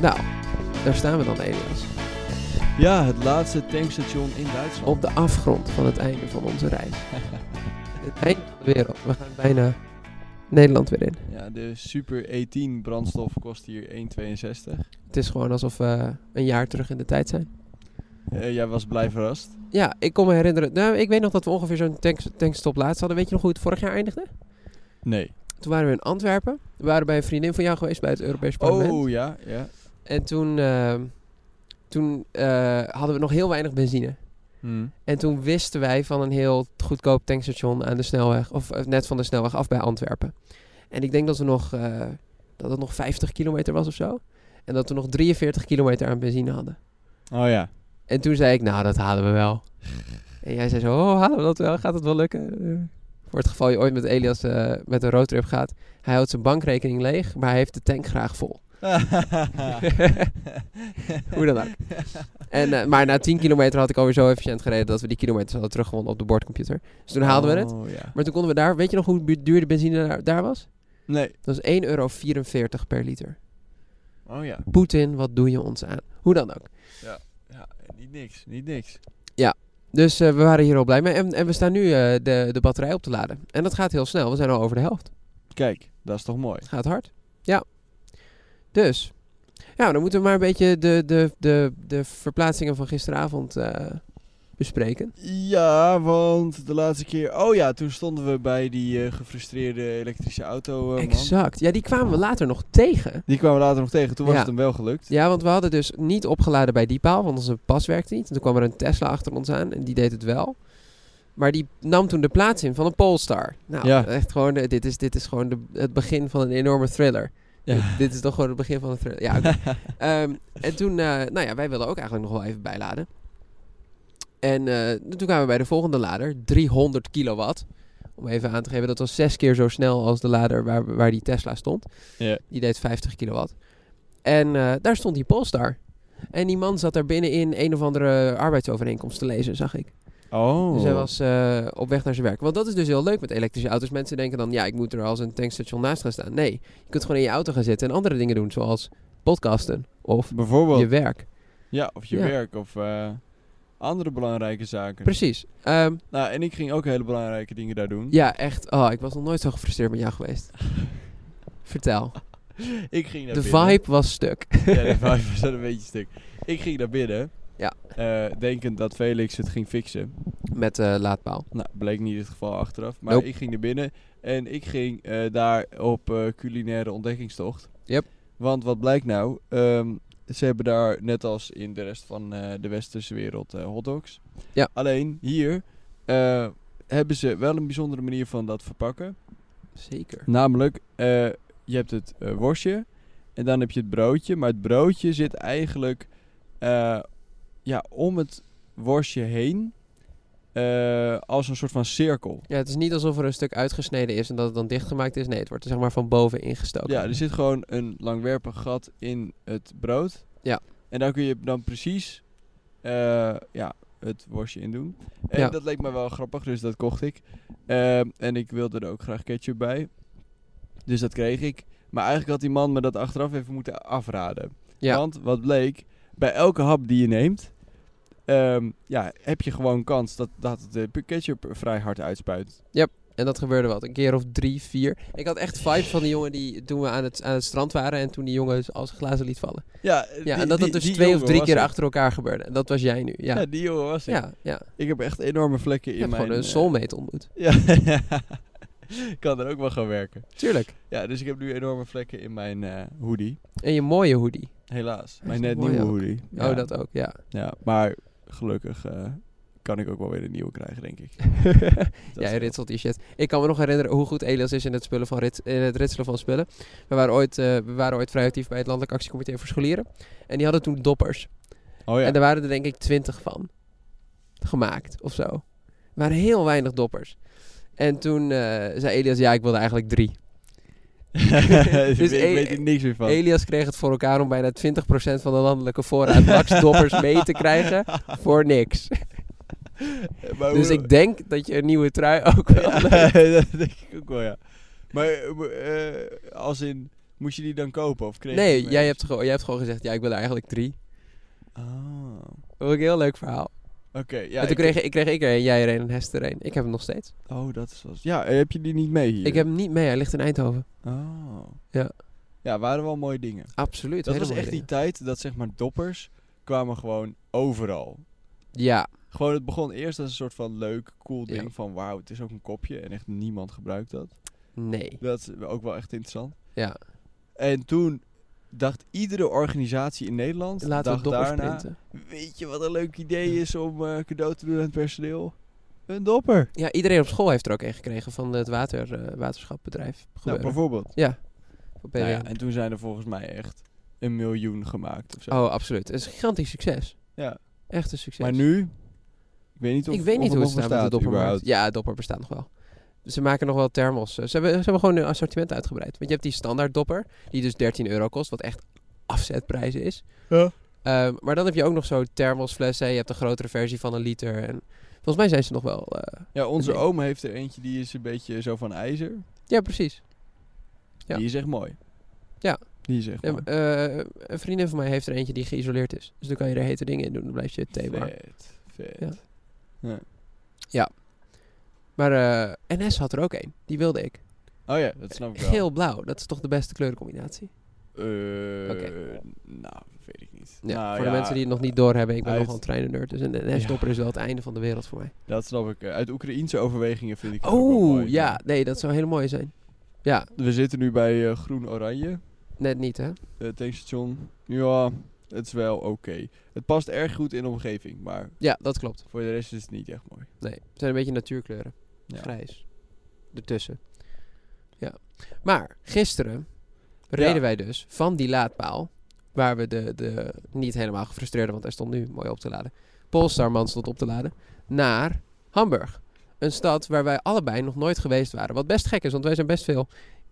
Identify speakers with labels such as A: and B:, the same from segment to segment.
A: Nou, daar staan we dan, Elias.
B: Ja, het laatste tankstation in Duitsland.
A: Op de afgrond van het einde van onze reis. het einde van de wereld. We gaan bijna Nederland weer in.
B: Ja, de Super E10 brandstof kost hier 1,62.
A: Het is gewoon alsof we een jaar terug in de tijd zijn.
B: Eh, jij was blij verrast.
A: Ja, ik kon me herinneren. Nou, ik weet nog dat we ongeveer zo'n tanks- tankstop laatst hadden. Weet je nog hoe het vorig jaar eindigde?
B: Nee.
A: Toen waren we in Antwerpen. We waren bij een vriendin van jou geweest bij het Europees Parlement.
B: Oh ja, ja.
A: En toen, ehm, toen eh, hadden we nog heel weinig benzine.
B: Hm.
A: En toen wisten wij van een heel goedkoop tankstation aan de snelweg, of eh, net van de snelweg af bij Antwerpen. En ik denk dat, we nog, eh, dat het nog 50 kilometer was of zo. En dat we nog 43 kilometer aan benzine hadden.
B: Oh ja.
A: En toen zei ik, nou dat halen we wel. En jij zei zo, oh halen we dat wel? Gaat het wel lukken? Eh, voor het geval je ooit met Elias eh, met een roadtrip gaat. Hij houdt zijn bankrekening leeg, maar hij heeft de tank graag vol. Hoe dan ook. En, eh, maar na 10 kilometer had ik alweer zo efficiënt gereden dat we die kilometers hadden teruggewonnen op de bordcomputer. Dus toen haalden we het.
B: Oh ja.
A: Maar toen konden we daar, weet je nog hoe bu- duur de benzine daar, daar was?
B: Nee.
A: Dat was 1,44 euro per liter.
B: Oh ja.
A: Poetin, wat doe je ons aan? Hoe dan ook.
B: Ja, niet niks, niet niks.
A: Dus eh, we waren hier al blij mee. En, en we staan nu eh, de, de batterij op te laden. En dat gaat heel snel. We zijn al over de helft.
B: Kijk, dat is toch mooi.
A: Het gaat hard. Ja. Dus. Ja, dan moeten we maar een beetje de, de, de, de verplaatsingen van gisteravond eh, bespreken.
B: Oh, Ja, want de laatste keer... Oh ja, toen stonden we bij die eh, gefrustreerde elektrische auto, eh, man.
A: exact. Ja, die kwamen we later nog tegen.
B: Die kwamen we later nog tegen. Toen was
A: Ja.
B: het hem wel gelukt.
A: Ja, want we hadden dus niet opgeladen bij die paal, want onze pas werkte niet. En toen kwam er een Tesla achter ons aan en die deed het wel. Maar die nam toen de plaats in van een Polestar. Nou,
B: Ja.
A: echt gewoon, de- dit is, dit is gewoon de, het begin van een enorme thriller. Dit, dit is toch gewoon het begin van een thriller. Ja, oké. Ehm, en toen, eh, nou ja, wij wilden ook eigenlijk nog wel even bijladen. En eh, toen kwamen we bij de volgende lader, 300 kilowatt. Om even aan te geven, dat was zes keer zo snel als de lader waar, waar die Tesla stond.
B: Ja.
A: Die deed 50 kilowatt. En eh, daar stond die Polestar. En die man zat daar binnenin een of andere arbeidsovereenkomst te lezen, zag ik.
B: Oh.
A: Dus hij was eh, op weg naar zijn werk. Want dat is dus heel leuk met elektrische auto's. Mensen denken dan, ja, ik moet er als een tankstation naast gaan staan. Nee, je kunt gewoon in je auto gaan zitten en andere dingen doen, zoals podcasten of
B: Bijvoorbeeld.
A: je werk.
B: Ja, of je
A: Ja.
B: werk of eh, andere belangrijke zaken.
A: Precies. Ehm,
B: Nou, en ik ging ook hele belangrijke dingen daar doen.
A: ja, echt. Oh, ik was nog nooit zo gefrustreerd met jou geweest. Vertel.
B: Ik ging naar
A: De
B: binnen.
A: vibe was stuk.
B: Ja, de vibe was wel een beetje stuk. Ik ging naar binnen.
A: Ja.
B: Eh, denkend dat Felix het ging fixen.
A: Met eh, laadpaal.
B: Nou, bleek niet het geval achteraf. Maar
A: Nope.
B: ik ging naar binnen en ik ging eh, daar op eh, culinaire ontdekkingstocht.
A: Yep.
B: Want wat blijkt nou? Ehm, ze hebben daar, net als in de rest van eh, de westerse wereld, eh hotdogs.
A: Ja.
B: Alleen hier eh, hebben ze wel een bijzondere manier van dat verpakken.
A: Zeker.
B: Namelijk, eh, je hebt het eh, worstje en dan heb je het broodje. Maar het broodje zit eigenlijk eh, ja, om het worstje heen eh, als een soort van cirkel.
A: Ja, het is niet alsof er een stuk uitgesneden is en dat het dan dichtgemaakt is. Nee, het wordt er zeg maar van boven ingestoken.
B: Ja, er zit gewoon een langwerpig gat in het brood.
A: Ja.
B: En daar kun je dan precies eh, ja, het worstje in doen. En
A: Ja.
B: dat leek me wel grappig, dus dat kocht ik. Ehm, en ik wilde er ook graag ketchup bij. Dus dat kreeg ik. Maar eigenlijk had die man me dat achteraf even moeten afraden.
A: Ja.
B: Want wat bleek, bij elke hap die je neemt, ehm, ja, heb je gewoon kans dat, dat de ketchup vrij hard uitspuit.
A: En dat gebeurde wat, een keer of drie, vier. Ik had echt vibe van die jongen die toen we aan het, aan het strand waren en toen die jongen als glazen liet vallen.
B: Ja,
A: Ja,
B: die-
A: en dat dat
B: die-
A: dus
B: die
A: twee of
B: jongen
A: drie
B: was
A: keer
B: het.
A: achter elkaar gebeurde. En dat was jij nu, ja.
B: Ja,
A: Ja,
B: die jongen was het.
A: ja.
B: Ik heb echt enorme vlekken
A: Je
B: in
A: hebt
B: mijn...
A: gewoon een
B: eh,
A: soulmate ontmoet.
B: Ja, kan er ook wel gaan werken.
A: Tuurlijk.
B: Ja, dus ik heb nu enorme vlekken in mijn eh, hoodie.
A: En je mooie hoodie.
B: Helaas.
A: is
B: Mijn net
A: mooi
B: nieuwe
A: ook.
B: hoodie. Ja.
A: Oh, dat ook, ja.
B: Ja, maar gelukkig eh, kan ik ook wel weer een nieuwe krijgen, denk ik. Dat
A: Jij
B: scheelt.
A: ritselt die shit. Ik kan me nog herinneren hoe goed Elias is in het, spullen van rits, in het ritselen van spullen. We waren ooit, eh, we waren ooit vrij actief bij het Landelijk Actiecomité voor Scholieren. En die hadden toen doppers.
B: Oh ja.
A: En er waren er denk ik twintig van. Gemaakt of zo. Er waren heel weinig doppers. En toen eh, zei Elias, ja, ik wilde eigenlijk drie.
B: ik
A: Dus
B: weet,
A: e-
B: ik weet er niks meer van.
A: Elias kreeg het voor elkaar om bijna 20% van de landelijke voorraad max doppers mee te krijgen voor niks.
B: Oh. Maar
A: Dus
B: hoe-
A: ik denk dat je een nieuwe trui ook wel...
B: Ja, dat denk ik ook wel, ja. Maar eh, eh, als in, Moest je die dan kopen of kreeg je
A: Nee,
B: die
A: jij
B: mee?
A: hebt, gewoon, jij hebt gewoon gezegd, ja, ik wil er eigenlijk drie.
B: Ah, oké.
A: Dat vond ik een heel leuk verhaal.
B: ja,
A: en toen
B: ik-
A: kreeg ik, kreeg ik er een, jij er een en Hester er een. Ik heb hem nog steeds.
B: Oh, dat is wel... Ja, heb je die niet mee hier?
A: Ik heb hem niet mee, hij ligt in Eindhoven.
B: Oh.
A: Ja.
B: Ja, waren wel mooie dingen.
A: Absoluut.
B: Dat
A: hele
B: was
A: mooie
B: echt die
A: dingen.
B: tijd dat zeg maar doppers kwamen gewoon overal.
A: Ja,
B: Gewoon het begon eerst als een soort van leuk, cool
A: Ja.
B: ding van wauw, het is ook een kopje en echt niemand gebruikt dat.
A: nee.
B: Dat is ook wel echt interessant.
A: Ja.
B: En toen dacht iedere organisatie in Nederland,
A: Laten we
B: dacht
A: doppers
B: daarna,
A: printen.
B: weet je wat een leuk idee is om eh, cadeau te doen aan het personeel? Een dopper. Nou,
A: Ja, iedereen op school heeft er ook een gekregen van het water, eh, waterschapbedrijf.
B: Nou,
A: Gebeuren.
B: bijvoorbeeld.
A: ja. Van
B: Nou ja,
A: PWN.
B: en toen zijn er volgens mij echt een miljoen gemaakt of zo.
A: oh, absoluut. Het is een gigantisch succes.
B: Ja.
A: Echt een succes.
B: maar nu, ik weet niet of
A: ik weet
B: of
A: niet hoe het
B: nog
A: staat met de
B: bestaat
A: doppermarkt.
B: überhaupt.
A: Ja, dopper bestaat nog wel. Ze maken nog wel thermos. Ze hebben, ze hebben gewoon hun assortiment uitgebreid. Want je hebt die standaard dopper, die dus 13 euro kost, wat echt afzetprijs is.
B: Ja.
A: Ehm, maar dan heb je ook nog zo thermosflessen. Je hebt een grotere versie van een liter. En volgens mij zijn ze nog wel... eh,
B: Ja, onze
A: Nee.
B: oom heeft er eentje die is een beetje zo van ijzer.
A: ja, precies. Ja.
B: Die is echt mooi.
A: Ja.
B: Die is echt
A: Ja,
B: mooi.
A: eh, een vriendin van mij heeft er eentje die geïsoleerd is. Dus dan kan je er hete dingen in doen. Dan blijft je thee warm.
B: vet, vet.
A: Ja.
B: Ja.
A: Maar eh, NS had er ook één. Die wilde ik.
B: Oh ja, dat snap ik wel.
A: Geel-blauw. Dat is toch de beste kleurencombinatie?
B: Eh,
A: Oké.
B: Nou, weet ik niet.
A: Ja,
B: Nou
A: voor
B: ja,
A: de mensen die het nog niet doorhebben, ik ben
B: uit-
A: nogal een treinennerd. Dus een NS-dopper is wel het einde van de wereld voor mij.
B: Dat snap ik. Eh, Uit Oekraïense overwegingen vind ik het ook wel
A: Oh,
B: mooi.
A: ja. Nee, dat zou heel mooi zijn. Ja,
B: We zitten nu bij eh, Groen-Oranje,
A: net niet, hè?
B: het tankstation. Ja, het is wel oké. Het past erg goed in de omgeving, maar
A: Ja, dat klopt.
B: voor de rest is het niet echt mooi.
A: Nee, het zijn een beetje natuurkleuren.
B: Ja.
A: Grijs. Ertussen. Ja. Maar, gisteren reden
B: Ja.
A: wij dus van die laadpaal, waar we de, de niet helemaal gefrustreerden, want hij stond nu mooi op te laden, Polestarman stond op te laden, naar Hamburg. Een stad waar wij allebei nog nooit geweest waren. Wat best gek is, want wij zijn best veel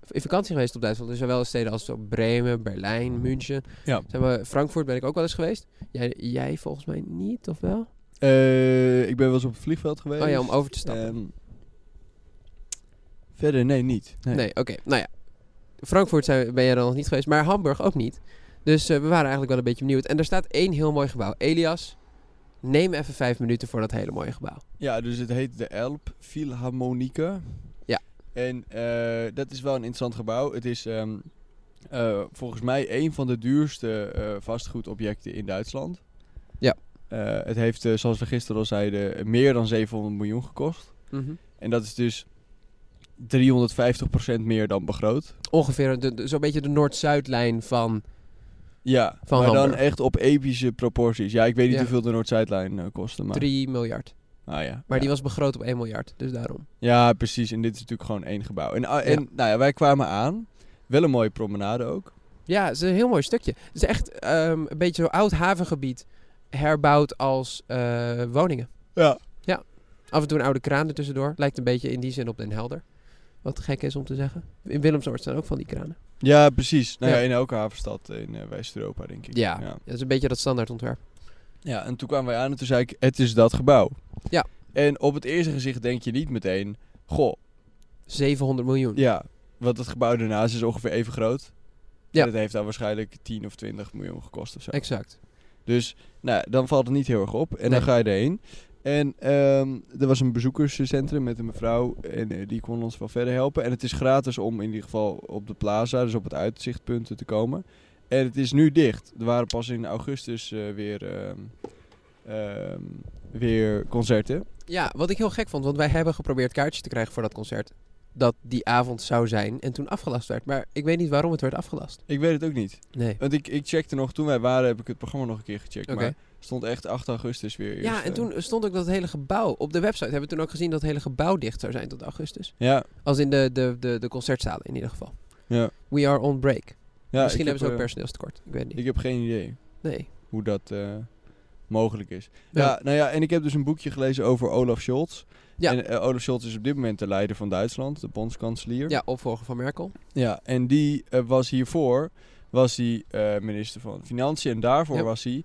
A: in vakantie geweest op Duitsland. Er zijn wel eens steden als zo Bremen, Berlijn, München.
B: Mm. Ja.
A: Zeg maar, Frankfurt ben ik ook wel eens geweest. Jij, jij volgens mij niet, of wel?
B: Eh, ik ben wel eens op het vliegveld geweest.
A: Oh ja, om over te stappen.
B: Ehm, verder, nee, niet. Nee.
A: Nee, oké. Nou ja. Frankfurt zijn, ben jij dan nog niet geweest, maar Hamburg ook niet. Dus eh, we waren eigenlijk wel een beetje benieuwd. En er staat één heel mooi gebouw. Elias, neem even vijf minuten voor dat hele mooie gebouw.
B: Ja, dus het heet de Elb Philharmonieke.
A: Ja.
B: En eh, dat is wel een interessant gebouw. Het is ehm, eh, volgens mij een van de duurste eh, vastgoedobjecten in Duitsland.
A: Ja.
B: Eh, het heeft, eh, zoals we gisteren al zeiden, meer dan 700 miljoen gekost. En dat is dus 350% meer dan begroot.
A: Ongeveer de- de- zo'n beetje de Noord-Zuidlijn van...
B: Ja,
A: Van
B: maar dan
A: Hamburg.
B: echt op epische proporties. Ja, ik weet niet
A: Ja.
B: hoeveel de Noord-Zuidlijn eh, kostte, maar...
A: 3 miljard.
B: Ah, ja.
A: Maar
B: ja.
A: die was begroot op 1 miljard, dus daarom.
B: Ja, precies. En dit is natuurlijk gewoon één gebouw. En, ah, en nou ja, wij kwamen aan. Wel een mooie promenade ook.
A: Ja, het is een heel mooi stukje. Het is echt ehm, een beetje zo'n oud havengebied herbouwd als eh, woningen.
B: Ja.
A: Af en toe een oude kraan er tussendoor. Lijkt een beetje in die zin op Den Helder. Wat gek is om te zeggen. In Willemsoord staan ook van die kranen.
B: Ja, precies. Nou ja,
A: Ja.
B: in elke havenstad in eh, West-Europa, denk ik.
A: Ja.
B: ja.
A: Ja, dat is een beetje dat standaard ontwerp.
B: Ja, en toen kwamen wij aan en toen zei ik, het is dat gebouw.
A: Ja.
B: En op het eerste gezicht denk je niet meteen, goh,
A: 700 miljoen.
B: ja, want het gebouw daarnaast is ongeveer even groot.
A: Ja.
B: En het heeft dan waarschijnlijk 10 of 20 miljoen gekost of zo.
A: Exact.
B: Dus nou, ja, dan valt het niet heel erg op. En
A: Nee.
B: dan ga je erheen. En ehm, er was een bezoekerscentrum met een mevrouw. En eh, die kon ons wel verder helpen. En het is gratis om in ieder geval op de plaza, dus op het uitzichtpunten te komen. En het is nu dicht. Er waren pas in augustus eh, weer, ehm, ehm, weer concerten.
A: Ja, wat ik heel gek vond, want wij hebben geprobeerd kaartjes te krijgen voor dat concert. Dat die avond zou zijn en toen afgelast werd. Maar ik weet niet waarom het werd afgelast.
B: Ik weet het ook niet.
A: Nee.
B: Want ik, ik checkte nog, toen wij waren heb ik het programma nog een keer gecheckt.
A: Oké.
B: Maar stond echt 8 augustus weer. eerst,
A: Ja, en
B: eh,
A: toen stond ook dat hele gebouw op de website. Hebben we toen ook gezien dat het hele gebouw dicht zou zijn tot augustus.
B: Ja,
A: Als in de, de, de, de concertzalen in ieder geval.
B: ja.
A: We are on break.
B: ja
A: Misschien
B: ik
A: hebben ze ook
B: heb, eh,
A: personeelstekort. Ik weet het niet.
B: Ik heb geen idee.
A: Nee.
B: hoe dat eh, mogelijk is. Ja.
A: Ja.
B: nou ja, en ik heb dus een boekje gelezen over Olaf Scholz.
A: Ja.
B: En eh, Olaf Scholz is op dit moment de leider van Duitsland, de bondskanselier.
A: Ja, opvolger van Merkel.
B: Ja, en die eh, was hiervoor was hij eh, minister van Financiën en daarvoor
A: Ja.
B: was hij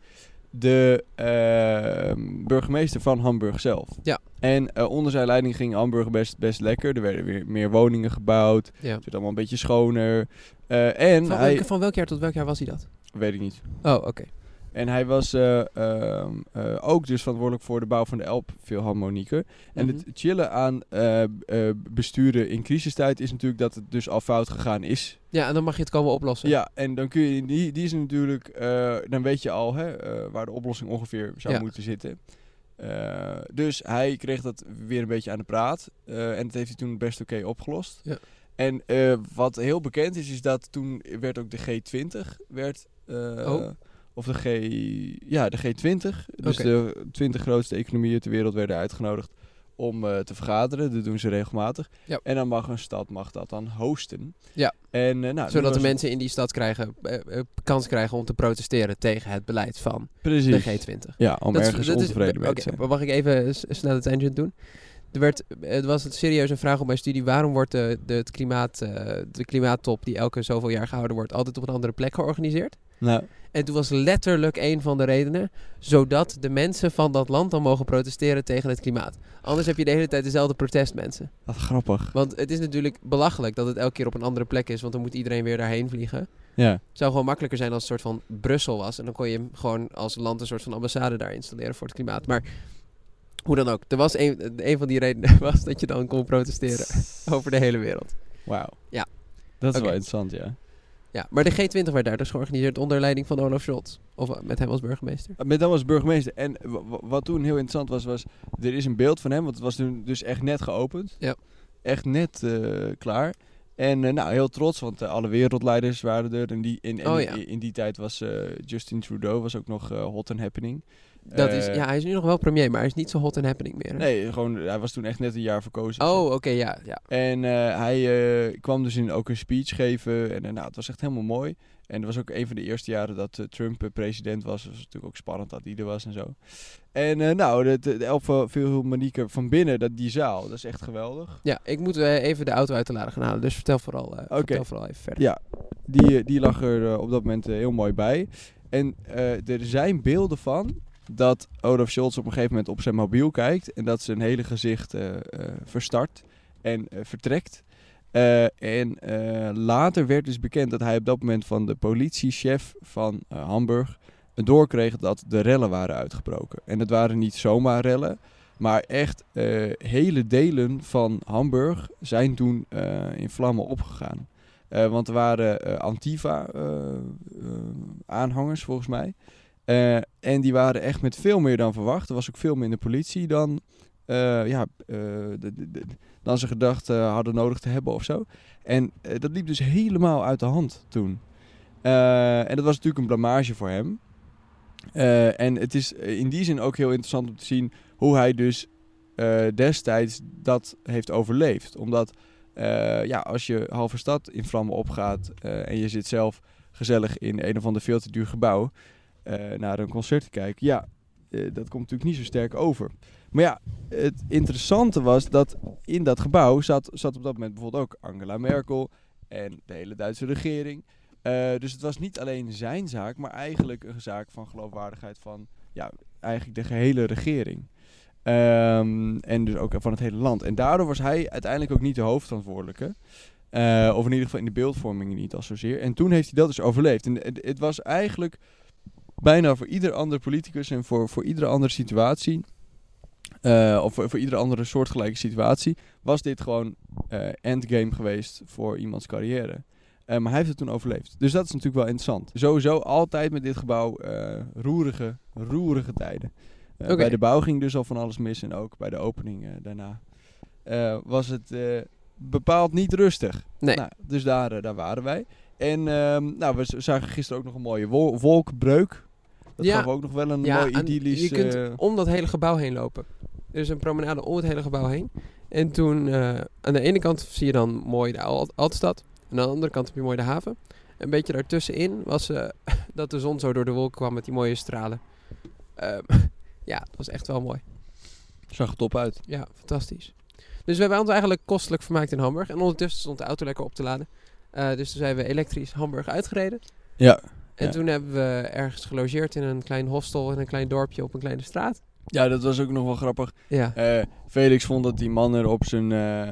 B: de eh, burgemeester ehm, van Hamburg zelf.
A: Ja,
B: En eh, onder zijn leiding ging Hamburg best, best lekker. Er werden weer meer woningen gebouwd.
A: Ja.
B: Het werd allemaal een beetje schoner. Eh, en
A: Van,
B: hij...
A: welke- van welk jaar tot welk jaar was hij dat?
B: Weet ik niet.
A: Oh, oké.
B: En hij was eh, ehm, eh, ook dus verantwoordelijk voor de bouw van de Elb Philharmoniker. En
A: Mhm.
B: het chillen aan eh, b- eh, besturen in crisistijd is natuurlijk dat het dus al fout gegaan is.
A: Ja, en dan mag je het komen oplossen.
B: Ja, en dan kun je, die, die is natuurlijk, eh, dan weet je al hè, eh, waar de oplossing ongeveer zou
A: Ja.
B: moeten zitten. Eh, dus hij kreeg dat weer een beetje aan de praat. eh, en dat heeft hij toen best oké opgelost.
A: Ja.
B: En eh, wat heel bekend is, is dat toen werd ook de G20 werd. eh,
A: Oh.
B: Of de G. Ja, de G20. Dus
A: Oké.
B: de 20 grootste economieën ter wereld werden uitgenodigd om eh, te vergaderen. Dat doen ze regelmatig.
A: Ja.
B: En dan mag een stad mag dat dan hosten.
A: Ja.
B: En, eh, nou, nu
A: Zodat de
B: was-
A: mensen in die stad krijgen, eh, eh, kans krijgen om te protesteren tegen het beleid van
B: Precies.
A: de G20.
B: Ja, om
A: Dat is-
B: ergens
A: dat is-
B: ontevreden mee
A: oké,
B: te zijn.
A: maar Mag ik even s- snel de tangent doen? Er werd, het was een serieus een vraag op mijn studie. Waarom wordt de, de, het klimaat, eh, de klimaattop die elke zoveel jaar gehouden wordt... altijd op een andere plek georganiseerd?
B: Nou,
A: En toen was letterlijk een van de redenen... zodat de mensen van dat land dan mogen protesteren tegen het klimaat. Anders heb je de hele tijd dezelfde protestmensen.
B: wat grappig.
A: Want het is natuurlijk belachelijk dat het elke keer op een andere plek is... want dan moet iedereen weer daarheen vliegen.
B: Ja,
A: Het zou gewoon makkelijker zijn als het soort van Brussel was. En dan kon je hem gewoon als land een soort van ambassade daar installeren voor het klimaat. Maar hoe dan ook. Er was een, een van die redenen was dat je dan kon protesteren over de hele wereld.
B: wauw.
A: Ja.
B: Dat is
A: Oké.
B: wel interessant, ja.
A: Ja, maar de G20 werd daar dus georganiseerd onder leiding van Olaf Scholz. Of eh, met hem als burgemeester.
B: Met dan was burgemeester. En wa- wa- wat toen heel interessant was, was... Er is een beeld van hem, want het was toen dus echt net geopend.
A: Ja.
B: Echt net eh, klaar. En eh, nou, heel trots, want eh, alle wereldleiders waren er. En, die, in, en
A: Oh,
B: in-
A: ja.
B: in, die tijd was eh, Justin Trudeau was ook nog eh, hot and happening.
A: Dat is,
B: Eh,
A: ja, hij is nu nog wel premier, maar hij is niet zo hot and happening meer. hè?
B: Nee, gewoon, hij was toen echt net een jaar verkozen.
A: Oh, oké, ja, ja.
B: En eh, hij eh, kwam dus in, ook een speech geven. En eh, nou, het was echt helemaal mooi. En het was ook een van de eerste jaren dat eh, Trump eh, president was. Dus het was natuurlijk ook spannend dat hij er was en zo. En eh, nou, de, de, de Elfa Philharmoniker van binnen, dat, die zaal, dat is echt geweldig.
A: Ja, ik moet eh, even de auto uit de lade gaan halen, dus vertel vooral, eh, vertel vooral even verder.
B: Ja. Die, eh, die lag er eh, op dat moment eh, heel mooi bij. En eh, er zijn beelden van dat Olaf Scholz op een gegeven moment op zijn mobiel kijkt. En dat zijn hele gezicht eh, eh, verstart en eh, vertrekt. Eh, en eh, later werd dus bekend dat hij op dat moment van de politiechef van eh, Hamburg doorkreeg dat de rellen waren uitgebroken. En het waren niet zomaar rellen, maar echt eh, hele delen van Hamburg zijn toen eh, in vlammen opgegaan. Eh, want er waren eh, Antifa-aanhangers, volgens mij. Eh, en die waren echt met veel meer dan verwacht. Er was ook veel minder politie dan, eh, ja, eh, de- de- de- dan ze gedacht eh, hadden nodig te hebben of zo. En eh, dat liep dus helemaal uit de hand toen. Eh, en dat was natuurlijk een blamage voor hem. Eh, en het is eh, in die zin ook heel interessant om te zien hoe hij dus eh, destijds dat heeft overleefd. Omdat eh, ja, als je halve stad in vlammen opgaat eh, en je zit zelf gezellig in een of ander veel te duur gebouw eh, naar een concert te kijken, ja, eh, dat komt natuurlijk niet zo sterk over. Maar ja, het interessante was dat in dat gebouw zat, zat op dat moment bijvoorbeeld ook Angela Merkel en de hele Duitse regering. Eh, dus het was niet alleen zijn zaak, maar eigenlijk een zaak van geloofwaardigheid van ja, eigenlijk de gehele regering. Ehm, en dus ook van het hele land. En daardoor was hij uiteindelijk ook niet de hoofdverantwoordelijke. Eh, of in ieder geval in de beeldvorming niet al zozeer. En toen heeft hij dat dus overleefd. En het, het was eigenlijk bijna voor ieder andere politicus en voor, voor iedere andere situatie. eh, of voor, voor iedere andere soortgelijke situatie. Was dit gewoon eh, endgame geweest voor iemands carrière. Eh, maar hij heeft het toen overleefd. Dus dat is natuurlijk wel interessant. Sowieso altijd met dit gebouw eh, roerige, roerige tijden. Eh,
A: Oké.
B: Bij de bouw ging dus al van alles mis. En ook bij de opening eh, daarna eh, was het eh, bepaald niet rustig.
A: Nee.
B: Nou, dus daar, eh, daar waren wij. En ehm, nou, we z- zagen gisteren ook nog een mooie wol- wolkbreuk. Dat
A: Ja.
B: gaf ook nog wel een
A: Ja,
B: mooi
A: en
B: idyllisch...
A: Je kunt
B: eh,
A: om dat hele gebouw heen lopen. Er is een promenade om het hele gebouw heen. En toen, eh, aan de ene kant zie je dan mooi de Al- Altstad. En aan de andere kant heb je mooi de haven. Een beetje daartussenin was eh, dat de zon zo door de wolken kwam met die mooie stralen. Ehm, ja, dat was echt wel mooi.
B: Zag er top uit.
A: Ja, fantastisch. Dus we hebben ons eigenlijk kostelijk vermaakt in Hamburg. En ondertussen stond de auto lekker op te laden. Eh, dus toen zijn we elektrisch Hamburg uitgereden.
B: Ja.
A: En
B: Ja.
A: toen hebben we ergens gelogeerd in een klein hostel in een klein dorpje op een kleine straat.
B: Ja, dat was ook nog wel grappig.
A: Ja.
B: Eh, Felix vond dat die man er op zijn eh,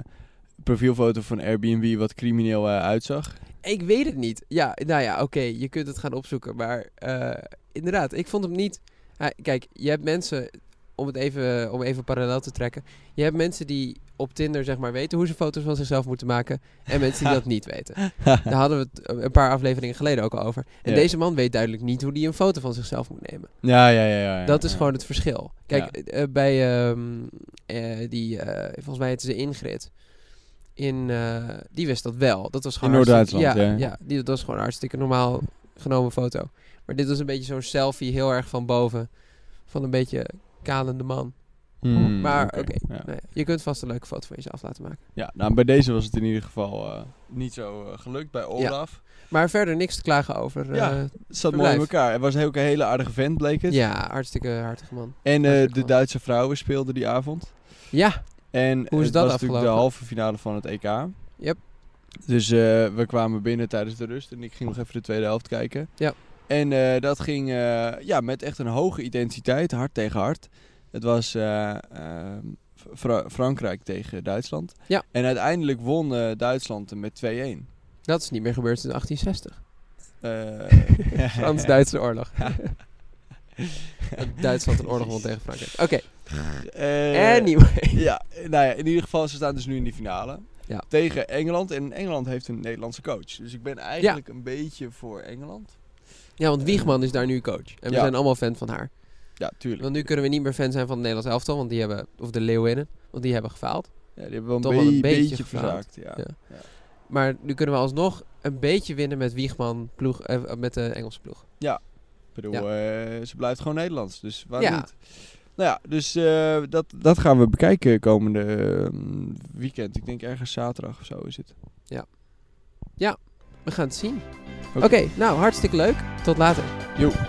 B: profielfoto van Airbnb wat crimineel eh, uitzag.
A: Ik weet het niet. Ja, nou ja, oké, je kunt het gaan opzoeken. Maar eh, inderdaad, ik vond hem niet... Hij- kijk, je hebt mensen, om het even, om even parallel te trekken... Je hebt mensen die op Tinder zeg maar weten hoe ze foto's van zichzelf moeten maken... en mensen die dat niet weten. Daar hadden we het eh, een paar afleveringen geleden ook al over. En
B: Ja.
A: deze man weet duidelijk niet hoe hij een foto van zichzelf moet nemen.
B: ja, ja, ja, ja, ja.
A: Dat is
B: ja.
A: gewoon het verschil. Kijk, eh, bij ehm, eh, die, eh, volgens mij het is de Ingrid. In, eh, die wist dat wel. Dat was gewoon
B: In
A: hartstikke-
B: Noord-Duitsland,
A: ja. die, dat was gewoon een hartstikke normaal genomen foto. Maar dit was een beetje zo'n selfie heel erg van boven. Van een beetje kalende man.
B: Hmm,
A: maar oké,
B: ja.
A: nou ja, je kunt vast een leuke foto van jezelf laten maken.
B: Ja, nou bij deze was het in ieder geval eh, niet zo eh, gelukt bij Olaf.
A: Maar verder niks te klagen over.
B: Ja.
A: eh,
B: Het zat mooi in
A: Verblijf.
B: elkaar. Het was ook een hele aardige vent, bleek het.
A: ja, hartstikke hartige man.
B: En eh,
A: hartstikke
B: de
A: goed.
B: Duitse vrouwen speelden die avond.
A: Ja,
B: En
A: Hoe is
B: het
A: dat
B: was natuurlijk de
A: afgelopen?
B: halve finale van het EK.
A: Yep.
B: Dus eh, we kwamen binnen tijdens de rust en ik ging nog even de tweede helft kijken.
A: Ja.
B: En eh, dat ging eh, ja, met echt een hoge intensiteit, hard tegen hard. Het was eh, ehm, Fra- Frankrijk tegen Duitsland.
A: Ja.
B: En uiteindelijk won eh, Duitsland met 2-1.
A: dat is niet meer gebeurd sinds 1860.
B: Eh,
A: Frans-Duitse oorlog. Dat Duitsland een oorlog won tegen Frankrijk. Oké,
B: Eh,
A: anyway.
B: Ja, nou ja, in ieder geval, ze staan dus nu in die finale.
A: Ja.
B: Tegen Engeland. En Engeland heeft een Nederlandse coach. Dus ik ben eigenlijk een beetje voor Engeland.
A: Ja, want Wiegman is daar nu coach. En we
B: Ja.
A: zijn allemaal fan van haar.
B: Ja, tuurlijk.
A: Want nu kunnen we niet meer fan zijn van het Nederlands elftal, want die hebben, of de Leeuwinnen, want die hebben gefaald.
B: Ja, die hebben wel een,
A: Toch wel een
B: be-
A: beetje
B: beetje
A: gefaald.
B: verzaakt. Ja.
A: Ja. Maar nu kunnen we alsnog een beetje winnen met Wiegman ploeg, eh, met de Engelse ploeg.
B: Ik bedoel, eh, ze blijft gewoon Nederlands. Dus waar
A: Ja.
B: niet? Nou ja, dus eh, dat, dat gaan we bekijken komende eh, weekend. Ik denk ergens zaterdag of zo is het.
A: We gaan het zien. Oké,
B: Oké.
A: nou hartstikke leuk. Tot later.
B: Joep.